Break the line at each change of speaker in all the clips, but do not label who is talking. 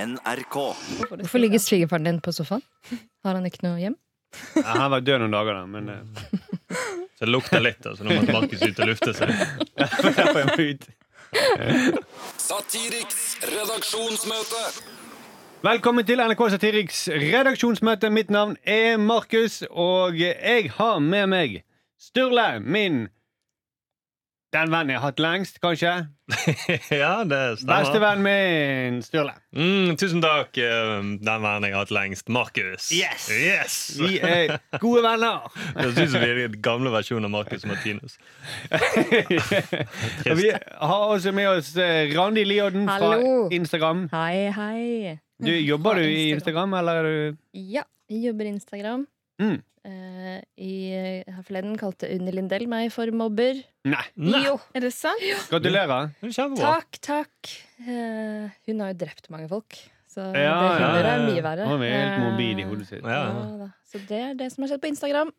NRK.
Hvorfor ligger svigerfaren din på sofaen? Har han ikke noe hjem?
Ja, han var død noen dager, da. Men eh,
Så det lukter litt, altså. Nå måtte Markus ut og lufte seg.
derfor jeg må ut.
Satiriks redaksjonsmøte.
Velkommen til NRK Satiriks redaksjonsmøte. Mitt navn er Markus, og jeg har med meg Sturle, min Den vennen jeg har hatt lengst, kanskje.
Ja, det stemmer.
Bestevennen min, Sturle.
Mm, tusen takk, eh, den vennen jeg har hatt lengst, Markus.
Yes.
yes.
Vi er gode venner.
Det synes vi er den gamle versjonen av Markus og Martinus.
Og vi har også med oss eh, Randi Lioden fra
Hallo.
Instagram.
Hei, hei.
Du, jobber du i
Fra Instagram.
Instagram, eller er du
Ja, jeg jobber i Instagram.
Mm.
Eh, i, her forleden kalte Unni Lindell meg for mobber.
Nei.
Jo,
Er det sant?
Gratulerer.
Det er Kjempebra.
takk, takk. Eh, hun har jo drept mange folk, så det
Ja,
hun
ja,
gjør,
ja,
er
ja.
mye verre.
Hun er helt
Eh,
mobil i hodet sitt.
Ja.
ja da. Så det er det som har skjedd på Instagram.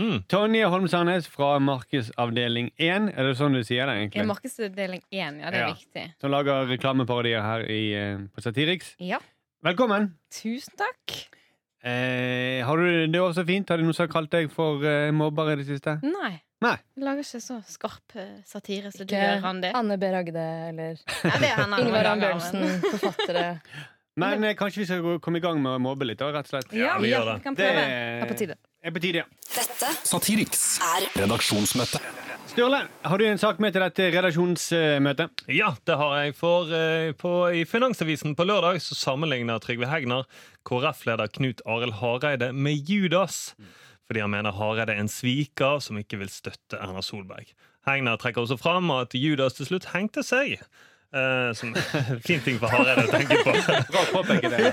Mm.
Tonje Holm Sandnes fra Markedsavdeling 1. Er det sånn du sier det,
Er
egentlig?
markedsdeling én? Ja, det er
Ja.
viktig.
Som lager reklameparodier her i, eh, på Satiriks.
Ja.
Velkommen!
Tusen takk.
Eh, har du det også fint? Har du noen som har kalt deg for eh, mobber i det siste?
Nei.
Nei.
Jeg lager ikke så skarp eh, satire som du
Ikke
gjør, Randi.
Anne B. Ragde eller
Ja, det er han andre
Ingvar
dagen,
Ambjørnsen,
men-
forfattere.
Men eh, kanskje vi skal gå, komme i gang med å mobbe litt, da, rett og slett?
Ja,
vi
ja,
gjør det.
vi kan
Det
prøve.
Det er på tide.
er på tide, ja.
Dette
Satiriks
er
redaksjonsmøte.
Sturle, har du en sak med til dette redaksjonsmøtet?
Ja, det har jeg. For eh, på, i Finansavisen på lørdag så sammenligner Trygve Hegnar KrF-leder Knut Arild Hareide med Judas. Fordi han mener Hareide er en sviker som ikke vil støtte Erna Solberg. Hegnar trekker også fram at Judas til slutt hengte seg. Eh, som Fin ting for Hareide å tenke på.
Bra påpeke det.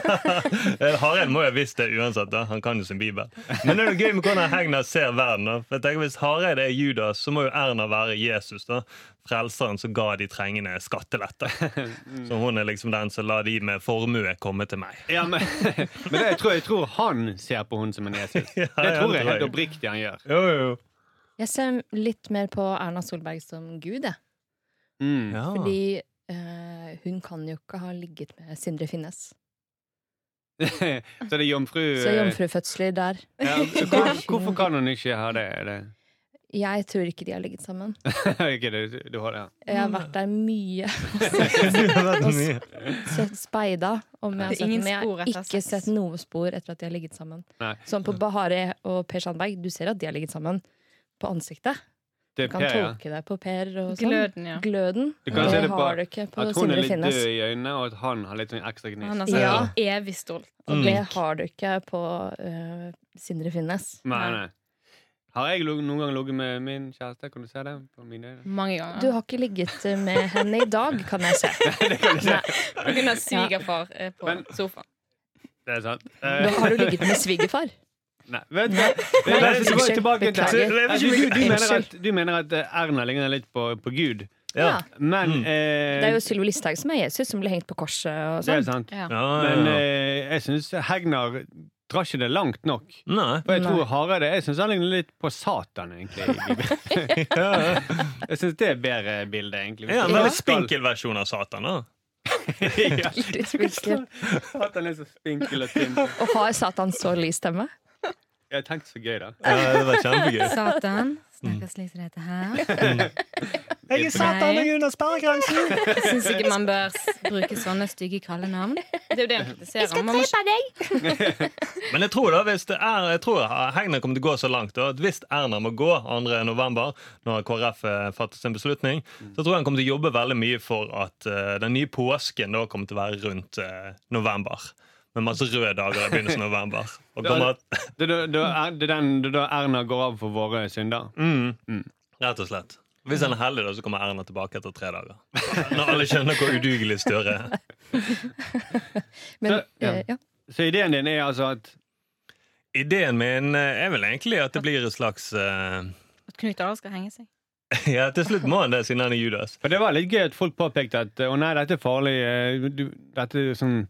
Eh, Hareide må jo ha visst det uansett. da, Han kan jo sin bibel. Men det er jo gøy med hvordan Hegnar ser verden. da, for jeg tenker Hvis Hareide er Judas, så må jo Erna være Jesus. da, Frelseren som ga de trengende skattelette. Så hun er liksom den som lar de med formue komme til meg.
Ja, men, men det, jeg, tror, jeg tror han ser på hun som en Jesus.
Ja,
det
ja,
tror jeg
det tror
helt
jeg.
oppriktig han gjør.
Jo, jo.
Jeg ser litt mer på Erna Solberg som gud, jeg.
Mm.
Ja.
Fordi eh, hun kan jo ikke ha ligget med Sindre Finnes.
Så det er jomfru...
Så jomfrufødsler der.
Ja, så hvor, hvorfor kan hun ikke ha det? Er det?
Jeg tror ikke de har ligget sammen.
Ikke det, du har det, ja.
Jeg har vært der mye
Det er veldig mye.
sett speida. Om jeg har
Det er
sett,
ingen
men jeg
spor
har
etter
ikke
sex.
sett noe spor etter at de har ligget sammen.
Nei.
Som på Bahareh og Per Sandberg. Du ser at de har ligget sammen på ansiktet. Du
Det er
kan
Per, ja.
tolke deg på Per og sånn.
Gløden, ja.
Gløden.
Du kan se
Det
det på
har du ikke på
At hun
Sindre
er litt
Finnes.
død i øynene, og at han har litt sånn ekstra
Han
gnist.
er så
Ja.
evig stolt.
Og
Mm.
det har du ikke på eh, Sindre Finnes.
Nei, nei. Har jeg lo- noen gang ligget med min kjæreste? Kan du se det? På mine øyne?
Mange
Du
ganger.
har ikke ligget med henne i dag, kan jeg se.
På grunn av svigerfar eh, på
Men-
sofaen.
Det er sant.
Nå
Eh,
har du ligget med svigerfar.
nei, vet du hva? Det er- så går jeg tilbake til-
Beklager.
Nei, Du, du, du, mener
Unnskyld.
at, du mener at eh, Erna ligner litt på, på Gud,
Ja.
men
Mm.
eh,
Det er jo Sylvi Listhaug som er Jesus, som ble hengt på korset og
Det er
sånn.
sant.
Ja.
Ja,
Men
ja.
eh, jeg syns Hegnar drar ikke det langt nok.
Nei.
For jeg
Nei.
tror Hareide Jeg syns han ligner litt på Satan, egentlig. i Bibelen. jeg syns det er bedre bilde, egentlig.
Ja, en
Ja.
veldig spinkel versjon av Satan. da
Ja.
Litt spinkel.
Satan er så spinkel og tynn.
Og har Satan så lys stemme?
Jeg har tenkt så gøy, da.
ja, Det var kjempegøy.
Satan snakker slik som dette her.
Jeg
er Satan, jeg
er under sperregrensen!
Jeg syns ikke man bør s- bruke sånne stygge kallenavn. Det er jo det han kritiserer. Man må ikke-
Men jeg tror da, hvis det er, jeg tror Hegnar kommer til å gå så langt da, at hvis Erna må gå 2. november, når KrF eh, fatter sin beslutning, så tror jeg han kommer til å jobbe veldig mye for at eh, den nye påsken da kommer til å være rundt eh, november. Med masse røde dager i begynnelsen av november. Og kommer,
Det er da- da er- det er den- det er da Erna går av for våre synder.
mm, rett og slett. Hvis han er heldig, da, så kommer Erna tilbake etter tre dager. Når alle skjønner hvor udugelig Støre er.
Men,
Så- ja.
eh, ja.
Så ideen din er altså at
Ideen min eh, er vel egentlig at det blir et slags eh,
At Knut Arild skal henge seg.
Ja, til slutt må han det, siden han er Judas.
For det var litt gøy at folk påpekte at Å nei, dette er farlig. eh, Du, dette er sånn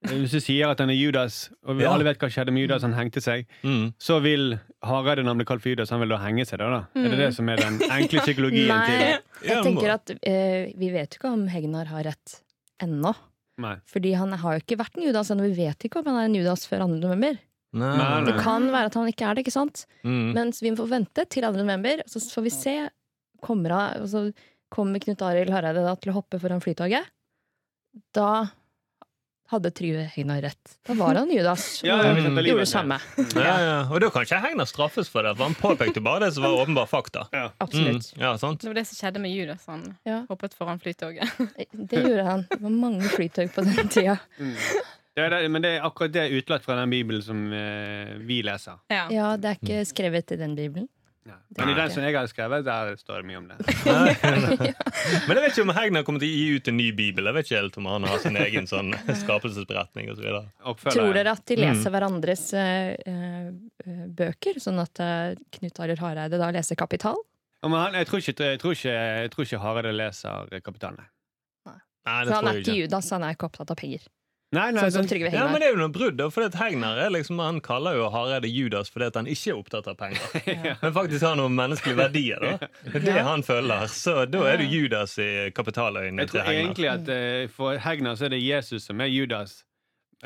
Hvis du sier at han er Judas, og vi
Ja.
alle vet hva skjedde med Judas, han hengte seg.
Mm.
så vil Hareide når han blir kalt for Judas, han vil da henge seg der, da? Er det det som er den enkle psykologien
Mm. Nei,
til
jeg
Ja, må-
tenker at eh, vi vet jo ikke om Hegnar har rett ennå.
Nei.
Fordi han har jo ikke vært en Judas ennå. Vi vet ikke om han er en Judas før 2. november.
Nei.
Nei, nei.
Det kan være at han ikke er det, ikke sant?
Mm.
Men så vi får vente til 2. november, så får vi se. Kommer, han, altså, kommer Knut Arild Hareide da til å hoppe foran Flytoget? Da hadde Trygve Hegnar rett. Da var han Judas.
Ja, ja, vi
og
setter livet
gjorde
ned.
det samme.
Ja, ja. Og da kan ikke Hegnar straffes for det, for han påpekte bare det som var åpenbar fakta. Mm.
Absolutt.
Ja, sant?
Det var det som skjedde med Judas. Han
Ja.
hoppet foran flytoget.
Mm.
Eh, Det gjorde han. Det var mange flytog på den tida.
Mm. Det er det, men det er akkurat det utelatt fra den bibelen som eh, vi leser.
Ja.
Ja, det er ikke skrevet i den bibelen.
Men i
Nei.
den som jeg har skrevet, der står det mye om det.
Nei. Men jeg vet ikke om Hegnar kommer til å gi ut en ny bibel. Jeg vet ikke helt om han har sin egen sånn skapelsesberetning osv.
Tror
Oppfølger.
dere at de
Mm.
leser hverandres eh, eh, bøker, sånn at eh, Knut Arild Hareide da leser Kapital?
Ja, men han, jeg tror ikke, jeg tror ikke, jeg tror ikke Hareide leser Kapitalen. nei.
Så
Nei, det
han
tror
er
jeg
ikke
ikke.
Judas, han er ikke opptatt av penger.
Nei, nei,
Sånn som
den-
Trygve
Ja, men
Hegnar.
det er jo noe brudd, da, for at Hegnar er liksom, han kaller jo Hareide Judas fordi at han ikke er opptatt av penger. Men faktisk har noen menneskelige verdier. da. Det er det han føler. Så da er du Judas i kapitaløyene
jeg
til
tror
Hegnar.
egentlig at eh, for Hegnar så er det Jesus som er Judas,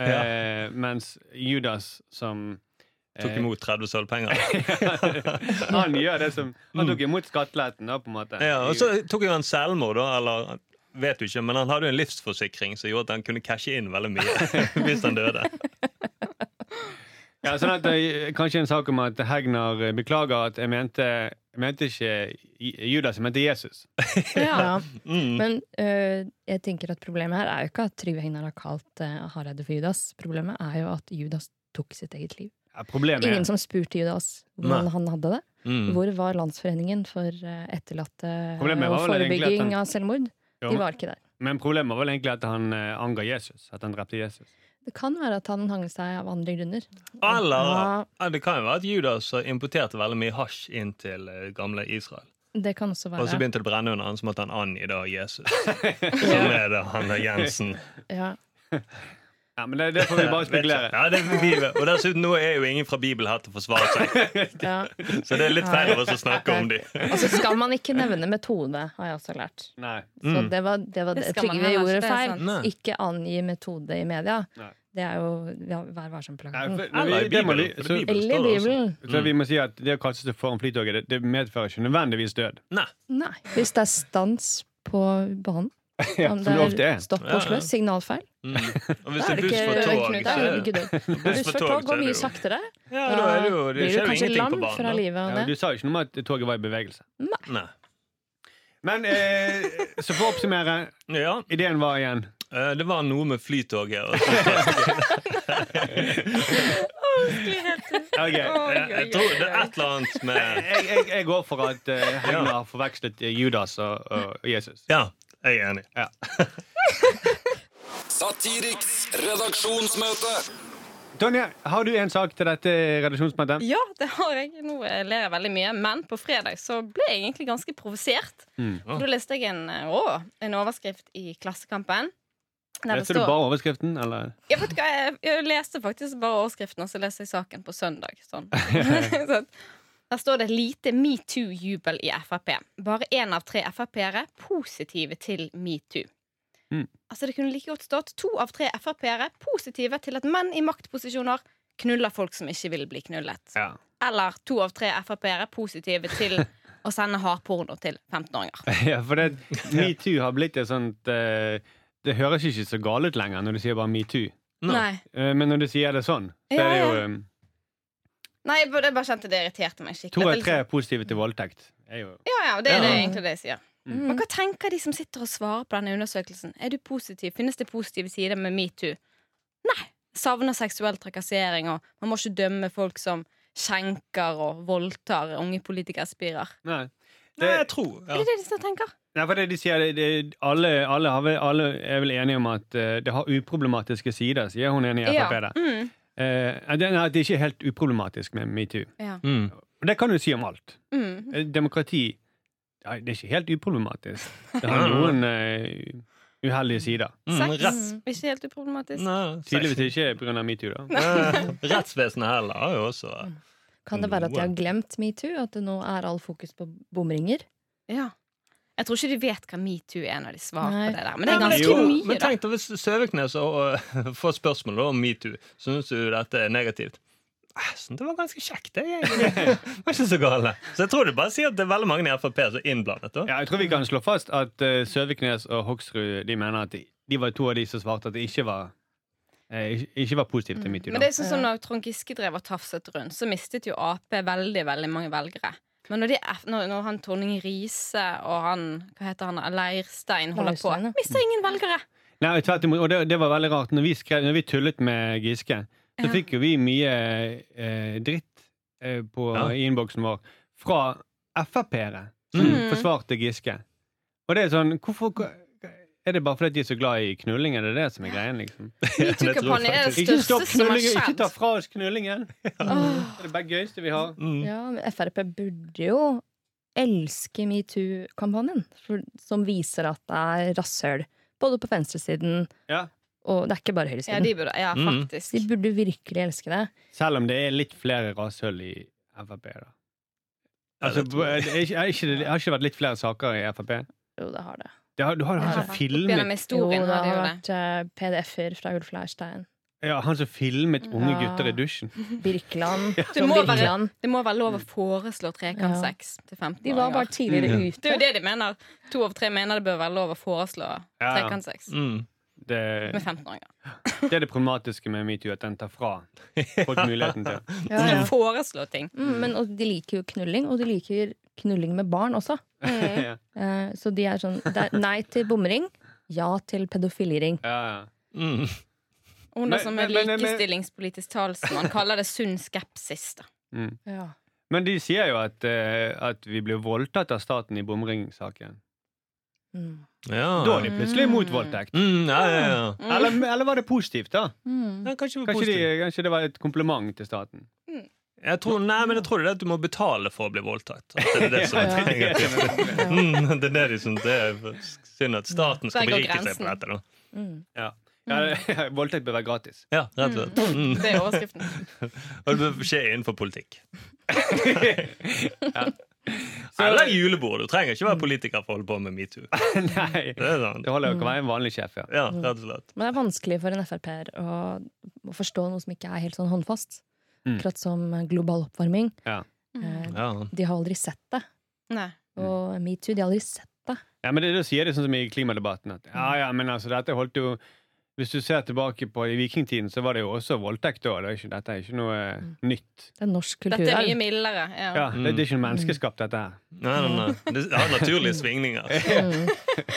eh, mens Judas som eh,
Tok imot 30 sølvpenger.
han gjør det som Han tok imot skatteletten, da, på en måte.
Mm. Ja, og så tok jo han selvmord, da. Eller vet du ikke, men han hadde jo en livsforsikring som gjorde at han kunne cashe inn veldig mye hvis han døde.
Ja, sånn at eh, Kanskje en sak om at Hegnar eh, beklager at jeg mente, jeg mente ikke Ju- Judas, jeg mente Jesus.
Ja.
Mm.
Men eh, jeg tenker at problemet her er jo ikke at Trygve Hegnar har kalt eh, Hareide for Judas. Problemet er jo at Judas tok sitt eget liv.
Ja, problemet
Ingen
er
som spurte Judas hvordan
Nei.
han hadde det.
Mm.
Hvor var Landsforeningen for eh, etterlatte eh,
Problemet
og
var vel egentlig at
forebygging
han-
av selvmord?
Jo,
De
men-
var ikke der.
Men problemet var vel egentlig at han eh, anga Jesus. At han drepte Jesus.
Det kan være at han hang seg av andre grunner.
Eller
Ja.
ja, Det kan jo være at Judas importerte veldig mye hasj inn til eh, gamle Israel.
Det kan også
Og så
være.
begynte det å brenne under han, så måtte han angi da Jesus. Som er det han der Jensen.
Ja.
Ja, men det, det får vi bare spekulere.
Ja, det er Bibel. Og dessuten, nå er jo ingen fra Bibelen her til å forsvare seg,
Ja.
så det er litt feil av oss å snakke om dem.
Og så skal man ikke nevne metode, har jeg også lært.
Nei.
Så det var det, var
Det
det,
skal man
Trygve
heller
gjorde
ikke, det er
feil.
sant.
Mm. Nei.
Ikke angi metode i media.
Nei.
Det er jo ja, Vær
Nei,
varsom-plakaten.
for- men
Eller i
vi- det må
Bibelen.
vi- så-
for i
Eller
står altså- det også.
Bibelen.
Så vi må si at det å kaste seg foran flytoget, det, det medfører ikke nødvendigvis død.
Nei.
Nei. Hvis det er stans på banen, om
som
det
det ofte
er
er.
stopp på
Ja,
Oslo,
ja.
signalfeil,
Mm. Og hvis
da
det
er
er
det
buss
ikke
for tog,
da
så
er
er
det
det
ikke død.
buss
Buss
for
for
tog,
tog
så er
går
det
mye
jo-
saktere.
ja, da
Da
er det jo, det
blir
skjer
du
jo
kanskje
ingenting
lam
på
fra
banen.
livet
Ja,
av
du
det.
sa jo ikke noe om at toget var i bevegelse.
da. Nei.
Men eh, så for å oppsummere.
Ja,
Ideen var igjen
eh, det var noe med flytoget. Og så
Ok,
Jeg, jeg tror det er et eller annet med
Jeg, jeg, jeg går for at uh, Hegnar har forvekslet eh, Judas og, og Jesus.
Ja, jeg er enig.
Satiriks redaksjonsmøte.
Tonje, har du en sak til dette redaksjonsmøtet?
Ja, det har jeg. Nå ler jeg veldig mye. Men på fredag så ble jeg egentlig ganske provosert.
Mm.
For Da leste jeg en, eh, å, en overskrift i Klassekampen. der det
Leser du
står-
bare overskriften, eller?
Jeg vet ikke hva, jeg, jeg leste faktisk bare overskriften, og så leste jeg saken på søndag. Sånn. Så at der står det 'lite metoo-jubel i Frp'. Bare én av tre Frp-ere positive til metoo.
Mm.
Altså Det kunne like godt stått to av tre Frp-ere positive til at menn i maktposisjoner knuller folk som ikke vil bli knullet.
Ja.
Eller to av tre Frp-ere positive til å sende hardporno til 15-åringer.
Ja, for det metoo har blitt et sånt eh, Det høres ikke så galt ut lenger når du sier bare metoo.
Nei.
Eh, men når du sier det sånn, så
Ja,
er det jo
ja.
eh,
Nei, jeg bare jeg bare kjente det irriterte meg skikkelig.
to
At
av
det
tre
liksom-
er positive til voldtekt. Er jo,
Ja, ja, det er
Ja.
det egentlig det jeg sier.
Mm.
Men hva tenker de som sitter og svarer på denne undersøkelsen? Er du positiv? Finnes det positive sider med metoo? Nei. Savner seksuell trakassering, og man må ikke dømme folk som skjenker og voldtar unge politikerspirer.
nei.
Nei,
Det-
jeg tror
Er
ja.
det det de som tenker?
Nei, for det de sier, det, det, alle, alle, har vel, alle er vel enige om at eh, det har uproblematiske sider, sier hun enig i Frp.
Ja.
der.
Mm.
Eh, at det- nei, at det ikke er helt uproblematisk med metoo.
Ja.
Mm.
Og det kan du si om alt.
Mm.
Eh, Demokrati ja, det er ikke helt uproblematisk. Det har noen eh, uheldige sider.
Mm,
Sex
rett.
ikke helt uproblematisk.
Nei,
Tydeligvis ikke pga. metoo, da.
Eh, Rettsvesenet heller har jo også eh,
Kan det være at de
Noe.
har glemt metoo? At det nå er all fokus på bomringer?
Ja. Jeg tror ikke de vet hva metoo er når de svarer
Nei.
på det der. Men det er
Nei, men
ganske
jo,
mye,
Men
da.
tenk deg hvis Søviknes og, og, får spørsmål om metoo. Syns du dette er negativt? Ah, Jeg synes det var ganske kjekt. Det egentlig. Det var ikke så gale. Så jeg tror det bare sier at det er veldig mange i Frp som er innblandet. Da.
Ja, jeg tror vi kan slå fast at eh, Søviknes og Hoksrud De mener at de, de var to av de som svarte at det ikke var eh, ikke- Ikke var positivt til metoo.
Men det er sånn som når Trond Giske drev og tafset rundt, så mistet jo Ap veldig veldig mange velgere. Men når, de, er- når, når han Torning Riise og han hva heter han, Leirstein holder på,
Leirstein, ja.
mister ingen velgere!
Nei, tvert imot. Og det, det var veldig rart. Når vi, skrev, når vi tullet med Giske, så
Ja.
fikk jo vi mye eh, dritt eh, på,
Ja.
i innboksen vår fra Frp-ere som
Mm.
forsvarte Giske. Og det er sånn hvorfor, Er det bare fordi de er så glad i knulling? Er det det som er greien, liksom?
Det tror jeg
Metoo-kampanjen er det
Ikke stopp
største som har
knullingen! Ikke
skjedd.
ta fra oss knullingen!
Åh.
Det er det bare gøyeste vi har.
Mm.
Ja, men Frp burde jo elske metoo-kampanjen, for- som viser at det er rasshøl både på venstresiden
Ja.
og det er ikke bare
Ja,
høyresiden.
de burde, ja,
Mm.
faktisk.
de burde virkelig elske det.
Selv om det er litt flere rasshøl i Frp, da.
Ja,
Altså,
det tror jeg.
det er ikke, er ikke, det har ikke vært litt flere saker i Frp?
Jo, det har det.
Det har, du har han
Ja,
som
opp
filmet
gjennom
Jo, det
historien har
har
de jo det.
vært eh, PDF-er fra Ulf Leirstein.
Ja, han som filmet unge
Ja.
gutter i dusjen.
Birkeland.
Det
Trond
må være-
Birkeland.
Det må være
Mm.
lov å foreslå trekantsex til
De var bare
15-åringer.
tidligere
Mm.
Det er jo
ute.
det de mener. To av tre mener det bør være lov å foreslå
Ja, ja.
trekantsex
Mm.
Det,
med 15-åringer.
det er det problematiske med metoo, at den tar fra folk muligheten til.
Ja, ja.
Foreslå ting.
Mm, men og de liker jo knulling, og de liker knulling med barn også.
ja,
Eh, så de er sånn det er Nei til bomring, ja til pedofiliring.
ja. ja.
Mm.
Hun
Men-
er som er
men- men- men-
likestillingspolitisk talsmann kaller det sunn skepsis. da
Mm.
Ja.
Men de sier jo at, eh, at vi blir voldtatt av staten i bomringsaken.
Mm.
Ja.
Da er de plutselig imot voldtekt.
Mm, ja, ja, ja.
Eller, eller var det positivt, da?
Mm.
Ja, kanskje vi
Kanskje,
er
de,
positive.
kanskje det var et kompliment til staten?
jeg tror, nei, men jeg tror det er at du må betale for å bli voldtatt. At det er det som er
Ja.
negativt. Mm, det er det de syns det er synd at staten skal
Der går
berike seg
grensen.
på dette. Da.
Mm.
Ja, voldtekt bør være gratis.
Ja, rett og slett. Mm.
Det er overskriften.
Og det bør skje innenfor politikk.
Så-
Eller julebord. Du trenger ikke være politiker for å holde på med metoo.
Nei,
Det er sant.
det holder jo ikke å være en vanlig sjef, ja.
Ja, rett og slett.
Men det er vanskelig for en Frp-er å, å forstå noe som ikke er helt sånn håndfast.
Mm.
Akkurat som eh, global oppvarming.
Ja.
Eh,
Ja.
de har aldri sett det.
Nei.
Og metoo, de har aldri sett det.
Ja, men det, Da sier de sånn som i klimadebatten at ja, ja, men altså, dette holdt jo Hvis du ser tilbake på i vikingtiden, så var det jo også voldtekt da. Det er ikke, dette er ikke noe eh, nytt.
Det er norsk
Dette er mye
kulturarv.
mildere. Mm. Ja. Mm.
Ja, det, det er ikke noe menneskeskapt, dette her.
Nei, nei, nei. Det har naturlige svingninger.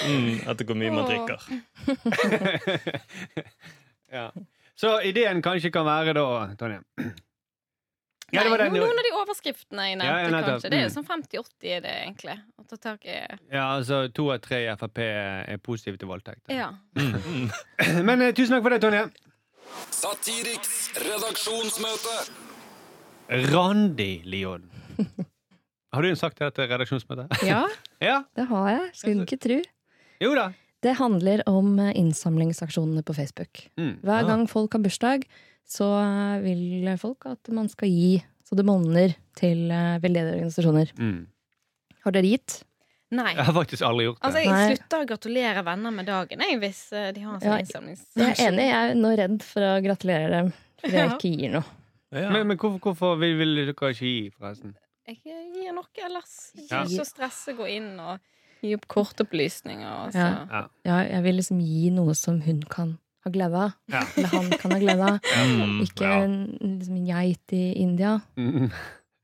Mm, etter hvor mye man drikker.
Ja. Så ideen kanskje kan være da, Tonje Ja, det var
Nei,
den.
noen av de overskriftene jeg
Ja, ja,
nevnte,
nettopp.
kanskje. Det er jo
Mm.
sånn 50-80 i det, egentlig. Å ta tak i
Ja, altså To av tre i Frp er positive til voldtekt.
Ja.
Men eh, tusen takk for det, Tonje.
Satiriks redaksjonsmøte.
Randi Lion. Har du en sak til dette redaksjonsmøtet?
Ja,
Ja.
det har jeg. Skulle ikke tro.
Jo da.
Det handler om eh, innsamlingsaksjonene på Facebook.
Mm.
Hver
Ah.
gang folk har bursdag, så eh, vil folk at man skal gi så det monner til eh, veldedige organisasjoner.
Mm.
Har dere gitt?
Nei.
Jeg har faktisk aldri gjort
Altså,
det.
jeg
Nei.
slutter å gratulere venner med dagen jeg, hvis eh, de har en
Ja,
sånn innsamlings...
Jeg er enig, jeg er nå redd for å gratulere dem. Fordi jeg ikke gir noe.
Ja.
Men, men hvorfor, hvorfor vil, vil dere ikke gi, forresten?
Jeg gir noe ellers. Jeg
Ja.
er ikke så stresse gå inn og gi opp kortopplysninger. Og så.
Ja. Ja, jeg vil liksom gi noe som hun kan ha glede av.
Ja.
Eller han kan ha glede av.
Mm,
Ikke
ja.
en liksom, en geit i India.
Mm.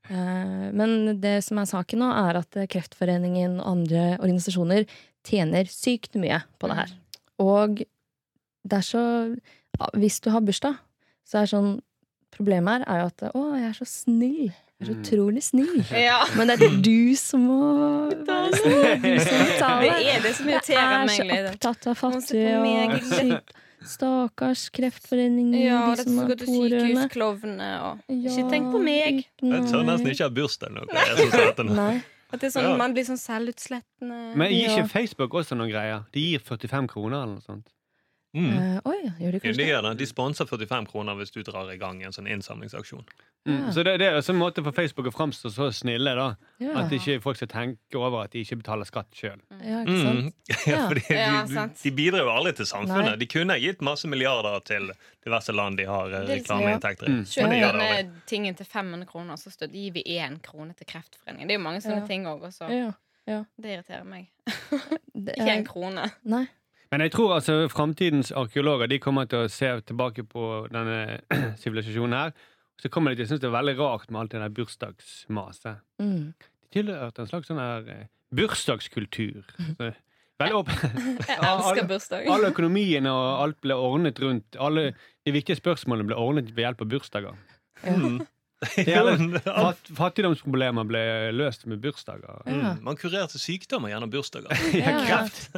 Eh, Men det som er saken nå, er at Kreftforeningen og andre organisasjoner tjener sykt mye på det her. Og det er så ja, Hvis du har bursdag, så er sånn Problemet her er jo at Å, jeg er så snill. Jeg er så
Mm.
utrolig snill.
Ja.
Men det er du som må være snill. Det er Du som
Det
betaler.
er det som
Sånn Jeg
irriterer
er
meg.
så
litt.
opptatt
Må
av
se på
fattige og
meg.
sykt. Stakkars kreftforeningen,
Ja, og
de
dette
som
skal
har
gå til
pårørende.
sykehus, klovnene og
Ja,
Ikke tenk på meg!
Jeg tør nesten ikke ha bursdag nå. hva jeg synes at den-
Nei.
At det er sånn,
Ja.
Man blir sånn selvutslettende.
Men gir
Ja.
ikke Facebook også noen greier? De gir 45 kroner eller noe sånt.
Mm.
Eh, oi, gjør de kanskje
De
det? Mm.
gjør det. De sponser 45 kroner hvis du drar i gang en sånn innsamlingsaksjon.
Mm. Så det, det er også en måte for Facebook å framstå så snille, da.
Ja,
At ikke folk skal tenke over at de ikke betaler skatt sjøl.
ja ikke sant?
Mm. Ja,
Ja.
fordi
Ja,
de,
sant.
de bidrar jo aldri til samfunnet.
Nei.
De kunne gitt masse milliarder til diverse land de har eh,
Det er liksom-
reklameinntekter i.
Mm.
Kjøp
Men de gjør det
denne
aldri.
tingen til 500 kroner, så støtter- gir vi én krone til Kreftforeningen. Det er jo mange sånne
Ja.
ting òg, så
Ja.
det irriterer meg.
Det-
Ikke en krone.
Nei.
Men jeg tror altså framtidens arkeologer de kommer til å se tilbake på denne sivilisasjonen her. Så kommer de til å synes det er veldig rart med alt det der bursdagsmaset.
Mm.
De tilhørte en slags sånn her eh, bursdagskultur. Så, veldig åpen.
Jeg
Ja, alle-
elsker bursdag.
Alle økonomiene og alt ble ordnet rundt alle De viktige spørsmålene ble ordnet ved hjelp av bursdager.
Mm.
Hele-
Jo, alt.
Fat, fattigdomsproblemer ble løst med bursdager.
Ja.
Mm. Man kurerte sykdommer gjennom bursdager.
Ja, ja.
kreft.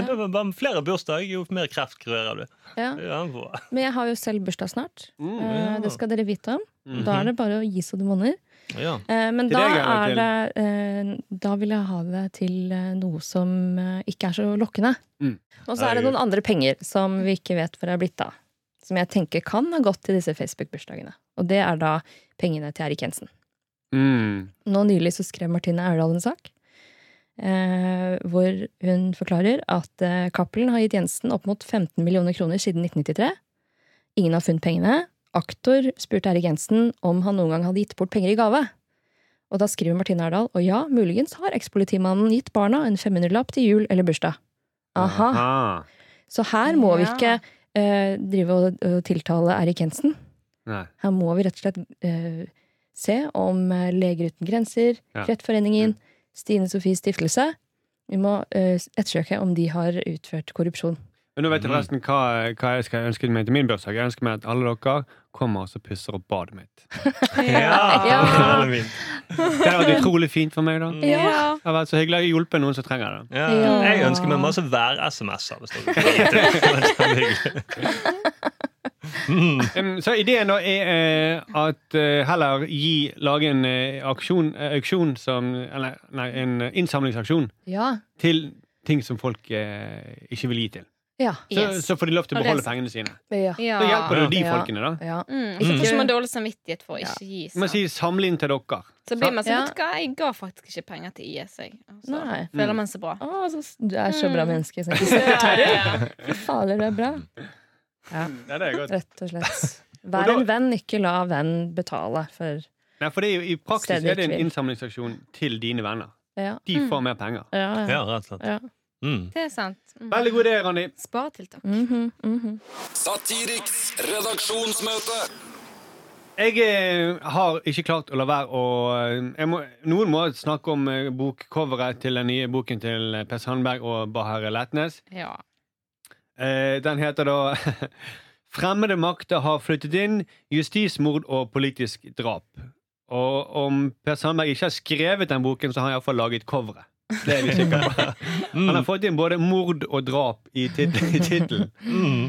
Det var bare flere bursdag, jo mer kreft kurerer du.
Ja.
Ja, bra.
Men jeg har jo selv bursdag snart.
Mm,
Eh,
ja. Mhm.
Det skal dere vite om. Da er det bare å gi så du monner.
ja.
Eh, Men
Til
da
deg er
er
det
det eh, Da vil jeg ha det til eh, noe som eh, ikke er så lokkende.
Mm.
Og så er det
Herregud.
noen andre penger som vi ikke vet hvor er blitt av. Som jeg tenker kan ha gått til disse Facebook-bursdagene. Og det er da pengene til Erik Jensen.
Mm.
Nå nylig så skrev Martine Aurdal en sak eh, hvor hun forklarer at eh, Cappelen har gitt Jensen opp mot 15 millioner kroner siden 1993. Ingen har funnet pengene. Aktor spurte Erik Jensen om han noen gang hadde gitt bort penger i gave. Og da skriver Martine Aurdal og ja, muligens har ekspolitimannen gitt barna en 500-lapp til jul eller bursdag. Aha.
Aha.
Så her må vi
Ja.
ikke eh, drive og, og tiltale Erik Jensen.
Nei.
Her må vi rett og slett eh, se om eh, Leger uten grenser,
Ja. Mm.
Kreftforeningen, Stine Sofies stiftelse Vi må eh, ettersøke om de har utført korrupsjon.
Men nå vet jeg
Mm.
forresten hva, hva jeg skal ønske meg til min bursdag. Jeg ønsker meg at alle dere kommer og så pusser opp badet mitt.
Ja.
Veldig fint.
Det har vært utrolig fint for meg, da.
Mm.
Ja.
Det har vært så hyggelig. Jeg har hjulpet noen som trenger det.
Ja.
Ja.
Jeg ønsker meg masse vær-SMS-er. hvis dere kan gjøre det. Det var kjempehyggelig. Mm.
Em, så ideen da er eh, at eh, heller gi, lage en eh, aksjon, eh, auksjon som Eller nei, en eh, innsamlingsaksjon
Ja.
til ting som folk eh, ikke vil gi til.
Ja.
Så,
Yes.
så får de lov til
Og det
å
er
beholde
s-
pengene sine.
ja.
Ja.
Så hjelper det jo de
Ja.
folkene, da.
ja.
Mm. Ikke får
Ikke-
man dårlig samvittighet for å
Ja.
ikke gi.
Man
sant?
sier 'samle inn til dere'.
Så blir man sånn,
Ja.
vet du hva, jeg ga faktisk ikke penger til IS, jeg. Og Så
Nei.
føler man seg bra.
Å, så, s- du er så bra
Mm.
menneske. Sånn.
Ja, ja.
Fy fader, du er bra. Ja,
Ja, det er godt.
rett og slett.
Og
Vær
da-
en venn, ikke la venn betale for
Nei, for det er jo, I praksis
Stedet
er det en
tvil.
innsamlingsaksjon til dine venner.
Ja.
De
Mm.
får mer penger.
Ja, ja.
ja, rett og slett.
ja.
Mm.
Det er sant. Mm.
Veldig god idé, Randi.
Sparetiltak.
Mhm, mhm.
Satiriks redaksjonsmøte.
Jeg eh, har ikke klart å la være å eh, jeg må, Noen må snakke om eh, bokcoveret til den nye boken til eh, Per Sandberg og Bahareh Letnes.
Ja.
Eh, den heter da 'Fremmede makter har flyttet inn. Justismord og politisk drap'. Og om Per Sandberg ikke har skrevet den boken, så har han iallfall laget coveret. Det er vi sikre på. Han har fått inn både mord og drap i tit- i tittelen.
Mm.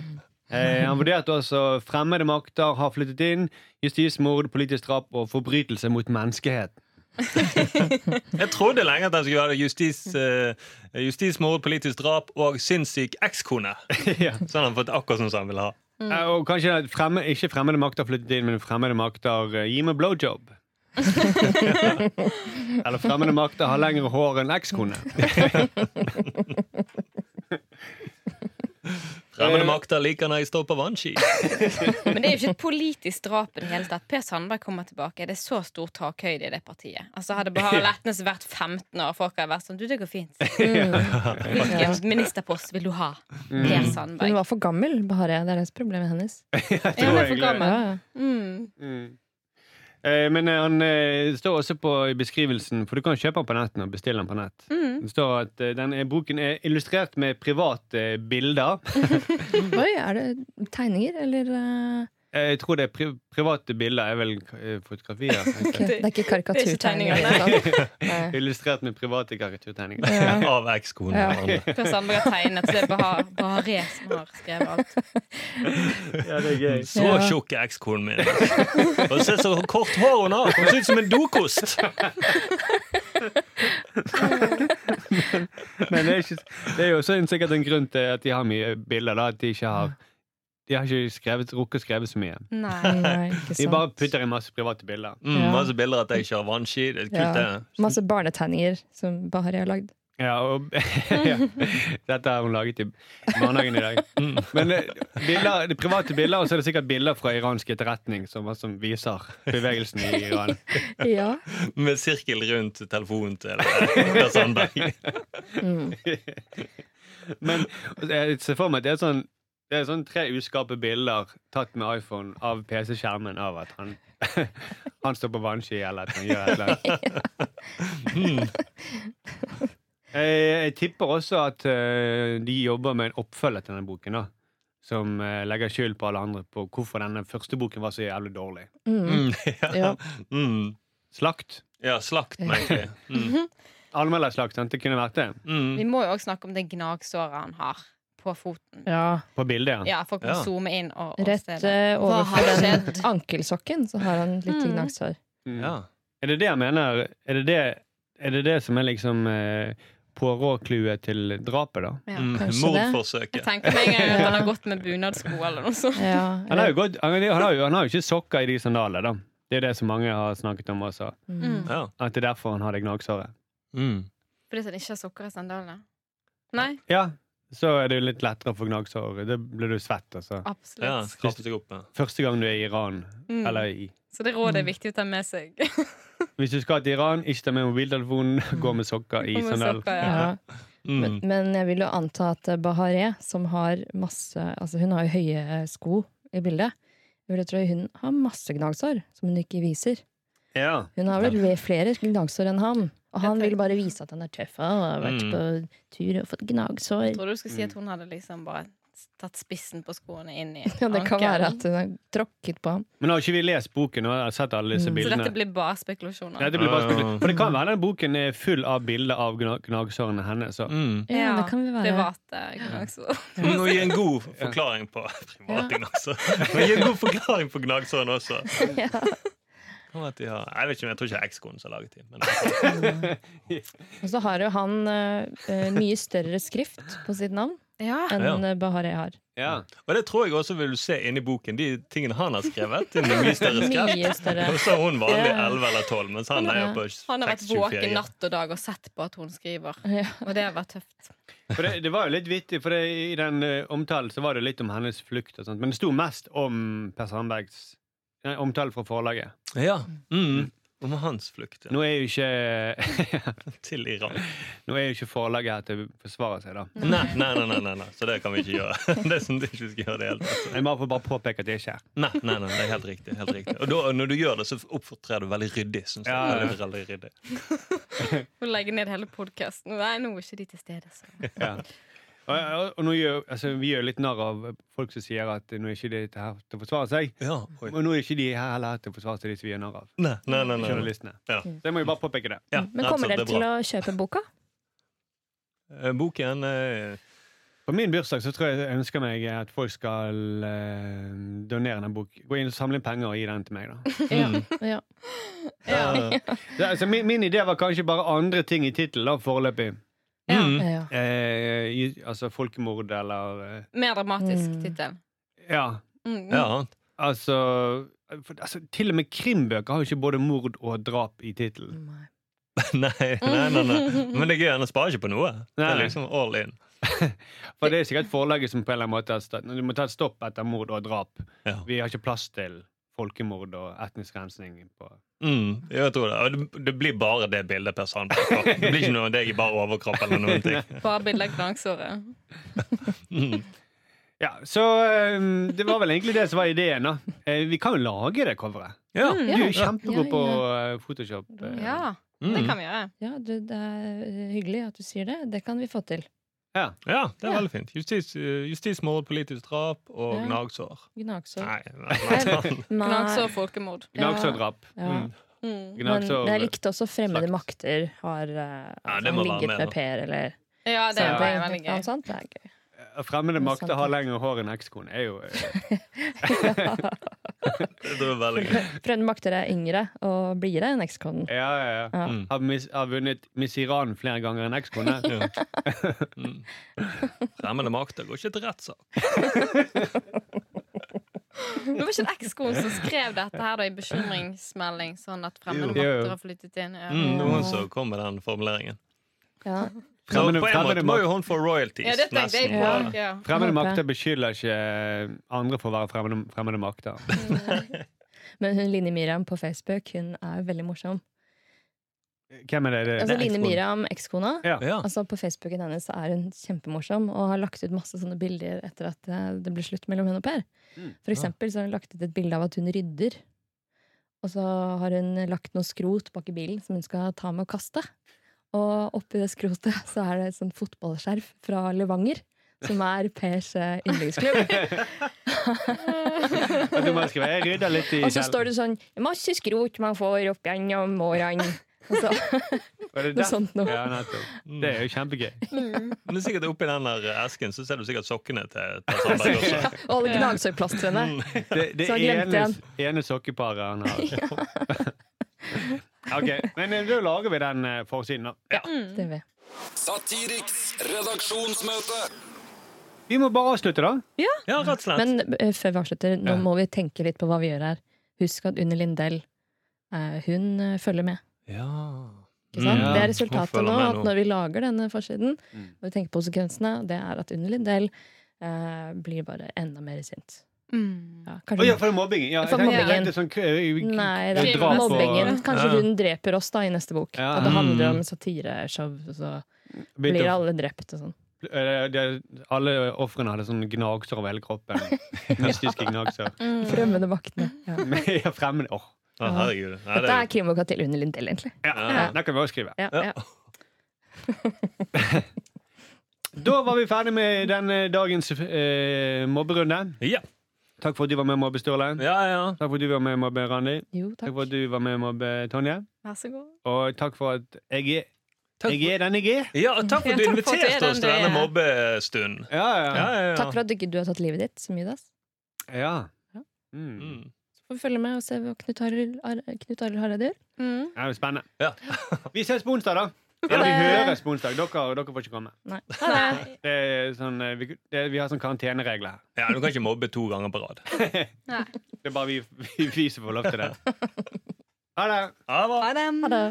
Eh, han vurderte også 'Fremmede makter har flyttet inn', 'justismord, politisk drap og forbrytelse mot menneskeheten'.
Jeg trodde lenge at den skulle være justis, eh, justismord, politisk drap og sinnssyk ekskone.
ja.
Så han har fått akkurat sånn som han vil ha.
eh, og kanskje at fremme, ikke 'fremmede makter har flyttet inn', men 'fremmede makter eh, gi meg blowjob'. Eller 'fremmede makter har lengre hår enn ekskone'.
Fremmede
Eh.
makter liker når jeg står på vannski.
Men det er jo ikke et politisk drap i det hele tatt. Per Sandberg kommer tilbake. Det er så stor takhøyde i det partiet. Altså Hadde Bahar Letnes vært 15 år, folk hadde vært sånn Du, det går fint. Hvilken ministerpost vil du ha? Per
Hun
Sandberg.
var for gammel, Bahareh. Det er det som er problemet hennes.
Jeg
Ja, hun
tror
er for
egentlig det.
gammel.
ja.
Mm.
Mm. Eh, Men eh, han eh, står også på i beskrivelsen, for du kan kjøpe den på netten og bestille den på nett.
Mm.
Det står at eh, denne boken er illustrert med private eh, bilder.
Oi, er det tegninger, eller eh,
Eh, Jeg tror det er pri private bilder er vel eh, fotografier. kanskje.
ok, Det er ikke karikaturtegninger? liksom.
Det er
nei. Nei.
Illustrert med private karikaturtegninger.
Av ekskone og andre.
Per Sandberg har tegnet, så det er Bahar- Bahareh som har skrevet alt.
Ja, det er gøy.
Så
Ja.
tjukk er ekskonen min. Og se så kort hår hun har! Hun ser ut som en dokost!
Men det er, ikke, det er jo også en, sikkert en grunn til at de har mye bilder. da At de ikke har De har ikke skrevet, rukket å skrive så mye.
Nei.
Nei, ikke
De
sant.
bare putter inn masse private bilder.
Mm,
Ja.
Masse bilder at jeg kjører vannski. Det er kult,
Ja.
det.
Masse barnetegninger som Bahari har lagd.
Ja, og, ja. Dette har hun laget i barnehagen i dag.
Mm.
Men eh, bilder, de private bilder, og så er det sikkert bilder fra iransk etterretning som, som viser bevegelsen i Iran.
Ja.
Med sirkel rundt telefonen til eh, Per Sandberg.
Mm.
Men jeg ser for meg at det er sånn det er sånn tre uskarpe bilder tatt med iPhone av PC-skjermen av at han, han står på vannski eller at han gjør et eller annet.
Mm.
Jeg, jeg tipper også at eh, de jobber med en oppfølger til denne boken. da Som eh, legger skyld på alle andre på hvorfor denne første boken var så jævlig dårlig.
Mm.
Mm. Ja.
Ja.
Mm.
Slakt.
ja, slakt meg, egentlig. Mm.
Anmelderslakt. sant? Det kunne vært det.
Mm.
Vi må jo også snakke om det gnagsåret han har på foten.
ja.
På bildet,
Ja,
ja.
folk må
Ja.
zoome inn og, og se
Rett
det.
eh,
Hva har
overfor den
skjedd?
ankelsokken så har han litt
Mm.
gnagsår.
Mm.
Ja.
Er det det jeg mener? Er det det, er det, det som er liksom eh, Poirot-clouet til drapet, da?
Ja.
Mm.
eh, kanskje det.
Jeg
Mordforsøket.
tenker meg en gang at han
Ja.
har gått med bunadsko eller noe sånt.
Ja,
Han har jo, gått, han han har jo, han har jo ikke sokker i de sandalene, da. Det er det som mange har snakket om også.
mm.
Ja.
At det er derfor han har det gnagsåret.
Mm.
Fordi at han ikke har sokker i sandalene. Nei,
Ja, så er det jo litt lettere å få gnagsår. Da blir du svett, altså.
ja.
absolutt.
Krampet seg opp. Ja.
Første gang du er i Iran,
Mm.
eller i
Så det rådet er viktig å ta med seg.
Hvis du skal til Iran, ikke ta med mobiltelefonen, gå med sokker i
Om man
sandal.
sokker, ja.
ja. Men,
Mm.
men jeg vil jo anta at Bahareh, som har masse Altså hun har jo høye sko i bildet. Jeg vil tro hun har masse gnagsår som hun ikke viser.
Ja.
Hun har vel ve- flere gnagsår enn han. Og han
Jeg tenker-
vil bare vise at han er tøff og har vært
Mm.
på tur og fått gnagsår.
Tror du du skulle si at hun hadde liksom bare tatt spissen på skoene inn i
Ja, det kan være
ankelen?
at hun har tråkket på ham.
Men har ikke vi lest boken og har sett alle disse
Mm.
Så
bildene?
dette blir bare spekulasjoner.
Dette blir bare
Ja, ja, ja.
spekulasjon. For det kan være den boken er full av bilder av gna- gnagsårene hennes. så-
Mm.
Ja, det kan vi være.
Private gnagsår.
Vi må gi en god forklaring på privating, altså. Vi må gi en god forklaring på gnagsåren også.
Ja.
Kan være at de har, jeg vet ikke, men jeg tror ikke det er ekskonen som har laget dem. Men
Og så har jo han eh, eh, mye større skrift på sitt navn
Ja.
enn
Ja.
ja. Bahareh har.
Ja.
Og det tror jeg også vil du se inni boken. De tingene han har skrevet. Det er mye større skrevet.
Mye større.
Og så er hun vanlig
Ja.
11 eller 12, mens han er jo på
Han har vært
6-24.
våken natt og dag og sett på at hun skriver.
Ja.
Og det har vært tøft.
For det, det var jo litt vittig, for det, i den eh, omtalen så var det litt om hennes flukt. og sånt, Men det sto mest om Per Sandbergs nei, omtale fra forlaget.
Ja. Mm. Om hans flukt ja.
Nå er jo ikke,
til Iran.
nå er jo ikke forlaget her til å forsvare seg, da.
Nei, nei, nei, nei, nei, nei. Så det kan vi ikke gjøre. Det er sånn at vi ikke skal gjøre det helt.
Jeg må bare påpeke at det ikke er.
Nei, nei, nei, det er helt riktig. Helt riktig. Og da, når du gjør det, så oppfører du deg veldig ryddig. Synes jeg.
Ja, ja.
Veldig, veldig ryddig.
Hun legger ned hele podkasten. Nei, nå er ikke de til stede. Så.
Ja. Og, og, og nå gjør, altså, vi gjør litt narr av folk som sier at nå er ikke de her til å forsvare seg.
Ja, oi.
Og nå er ikke de her heller til å forsvare seg, de som vi gjør narr av.
Nei, nei, nei, nei, nei.
Journalistene.
Ja.
Så jeg må jo bare påpeke det.
Ja,
Men
rett og
kommer
slett,
dere
det er
til
bra.
å kjøpe boka?
Eh, Boken eh,
På min bursdag så tror jeg jeg ønsker meg at folk skal eh, donere den boken. Gå inn og samle inn penger og gi den til meg, da.
Ja.
mm.
ja.
eh,
Det, altså, min, min idé var kanskje bare andre ting i tittelen, da, foreløpig.
Ja.
mm.
ja.
Eh, i- altså folkemord eller eh,
Mer dramatisk
Mm.
tittel.
Ja.
Mm.
Ja.
Altså, for, altså Til og med krimbøker har jo ikke både mord og drap i tittelen.
Nei.
Nei, nei, nei, nei. Men det er gøy, han sparer ikke på noe. Det er
Nei.
liksom all in.
For det er sikkert forlaget som på en eller annen måte har stått Du må ta et stopp etter mord og drap.
Ja.
Vi har ikke plass til folkemord og etnisk rensning. På.
Mm, jeg tror det. Og det- Det blir bare det bildet Per Sandberg får. Det blir ikke noe av deg i bare overkropp eller noen ting.
Bare bilde av gnagsåret.
Mm.
Ja, Så eh, det var vel egentlig det som var ideen. da Eh, Vi kan jo lage det coveret.
Ja.
Du er jo kjempegod
Ja,
på
ja.
eh, Photoshop. eh.
Ja, det
Mm.
kan vi gjøre.
Ja, du, det er eh, hyggelig at du sier det. Det kan vi få til.
Ja.
ja, det er
Ja.
veldig fint. Justis, eh, Justismord, politisk drap og
Ja.
gnagsår.
Gnagsår.
Nei, nei, nei, nei.
Nei.
Gnagsår folkemord.
Gnagsårdrap.
Ja.
Mm.
Mm.
Men
Gnagsår-
jeg likte også Fremmede
Slakt.
makter har eh, altså,
det må
han
være
ligget
med,
med
da.
Per eller
Ja, det
Sandberg.
var veldig
Ja,
gøy.
sant? Det er gøy.
eh, Fremmede
Det er
makter
sant.
har lengre hår enn ekskone. er jo eh,
Det var veldig gøy.
Frøen Makter er yngre og blidere enn ekskonen.
Ja, ja, ja.
Ja.
Mm.
Har, mis, har vunnet Miss Iran flere ganger enn ekskone.
Ja. Mm. Fremmede makter går ikke til rettssak.
Det var ikke en ekskone som skrev dette her da i bekymringsmelding, sånn at fremmede
Jo. Jo, jo.
makter har flyttet inn. Ja.
Mm, det var hun som kom med den formuleringen.
Ja.
Så
Fremmede-
på en
fremmede
måte må
makt-
jo hun få royalties.
Ja, det tenkte jeg på.
nesten, på
Ja.
det.
Ja.
Fremmede
Håper jeg.
makter beskylder ikke eh, andre for å være fremmede, fremmede makter.
Men hun Line Miriam på Facebook Hun er jo veldig morsom.
Hvem er det? det?
Altså
er
Line
ekskonen.
Miriam, ekskona.
Ja.
Ja.
Altså På Facebooken hennes så er hun kjempemorsom og har lagt ut masse sånne bilder etter at eh, det ble slutt mellom henne og Per.
Mm.
For eksempel så har hun lagt ut et bilde av at hun rydder. Og så har hun lagt noe skrot bak i bilen som hun skal ta med og kaste. Og oppi det skrotet så er det et sånt fotballskjerf fra Levanger, som er Pers eh, yndlingsklubb.
At du må skrive, jeg rydder litt i
Altså Og så står det sånn 'masse skrot man får opp gjennom årene'. Og så,
det
noe sånt noe.
Ja, nettopp. Det er jo kjempegøy.
Men sikkert oppi den der esken så ser du sikkert sokkene til til Sandberg også.
og alle gnagsårplastrene.
Mm.
Det, det
Så har jeg glemt
ene, ene sokkeparet han har. Ok, Men eh, da lager vi den eh, forsiden, da.
Mm.
Det er vi.
Satiriks redaksjonsmøte.
Vi må bare avslutte, da.
Ja, rett og slett.
Men eh, før vi avslutter, nå
Ja.
må vi tenke litt på hva vi gjør her. Husk at Unni Lindell, eh, hun eh, følger med.
ja.
Ikke sant? det
Mm. Ja,
er
hun
resultatet
følger
nå,
med
at
nå. Mm.
når vi lager denne forsiden, og vi tenker på konsekvensene, det er at Unni Lindell eh, blir bare enda mer sint.
Mm.
Ja,
Å, ja,
kanskje,
for mobbingen. Ja, jeg
For
tenkte- jeg
mobbingen.
tenkte Sånn, k- eh,
nei, det er
Drap og-
mobbingen. Kanskje
Ja.
hun dreper oss da i neste bok.
Ja.
At det handler
Mm.
om satireshow, og så
begynte
blir
å-
alle drept og sånn.
eh, det- Alle ofrene hadde sånn gnagsår over hele kroppen. Mystiske gnagsår.
Fremmede maktene. Ja.
Ja, Fremmede Åh.
Å, herregud. Nei,
Dette er krimboka til Unni Lindell, egentlig.
Ja, det kan vi også skrive.
Ja,
Ja.
ja.
Da var vi ferdig med denne dagens eh, mobberunde.
ja.
Takk for at du var med, mobbe Sturle.
ja, ja.
Takk for at du var med, mobbe Randi.
Jo,
Takk
takk.
for at du var med, mobbe Tonje.
Vær så god.
Og takk for at jeg er,
Takk
jeg
for,
er den jeg er.
ja, og takk for at
Ja,
du
takk for at du er
inviterte oss
den
til
du
denne
er.
mobbestunden.
Ja, ja.
Ja, ja,
Takk
ja.
for at ikke du har tatt livet ditt så mye, dass.
ja.
Ja.
Mm.
Mm.
Får vi følge med og se hva Knut Arild Ar- Knut Arild Hareide gjør.
Mm.
Ja, det er spennende.
Ja.
Vi ses på onsdag, da. Ja, vi høres på onsdag. Dere, dere får ikke komme.
Nei.
Ha det.
Det er sånn, eh, vi, det, vi har sånn karanteneregler her.
ja, du kan ikke mobbe to ganger på rad.
Nei.
Det er bare vi, vi, vi som får lov til det. Ha det.
Ha det bra.
Ha det.
Ha det.